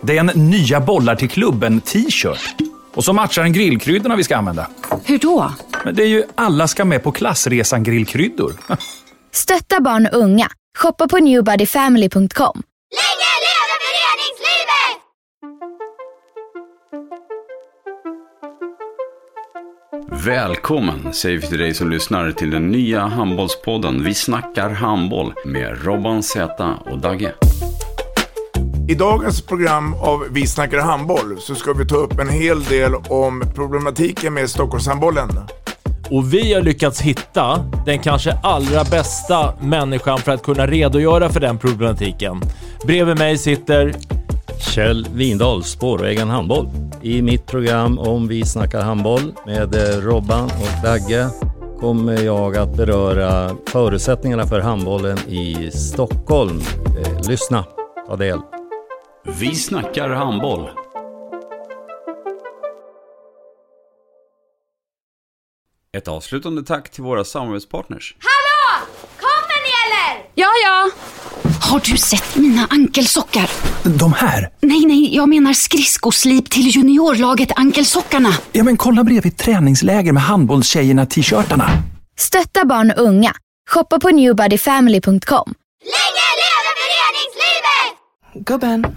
Det är en nya bollar till klubben-t-shirt. Och så matchar den grillkryddorna vi ska använda. Hur då? Men det är ju alla ska med på klassresan grillkryddor. Stötta barn och unga. Shoppa på newbodyfamily.com. Länge leve föreningslivet! Välkommen säger vi till dig som lyssnar till den nya handbollspodden Vi snackar handboll med Robban Z och Dagge. I dagens program av Vi snackar handboll så ska vi ta upp en hel del om problematiken med Stockholmshandbollen. Och vi har lyckats hitta den kanske allra bästa människan för att kunna redogöra för den problematiken. Bredvid mig sitter... Kjell Windahl, spårvägen handboll. I mitt program om Vi snackar handboll med eh, Robban och Dagge kommer jag att beröra förutsättningarna för handbollen i Stockholm. Eh, Lyssna, ta del. Vi snackar handboll. Ett avslutande tack till våra samarbetspartners. Hallå! Kommer ni eller? Ja, ja. Har du sett mina ankelsockar? De här? Nej, nej, jag menar skridskoslip till juniorlaget Ankelsockarna. Ja, men kolla bredvid träningsläger med handbollstjejerna-t-shirtarna. Stötta barn och unga. Shoppa på newbodyfamily.com. Länge leve föreningslivet! Gubben,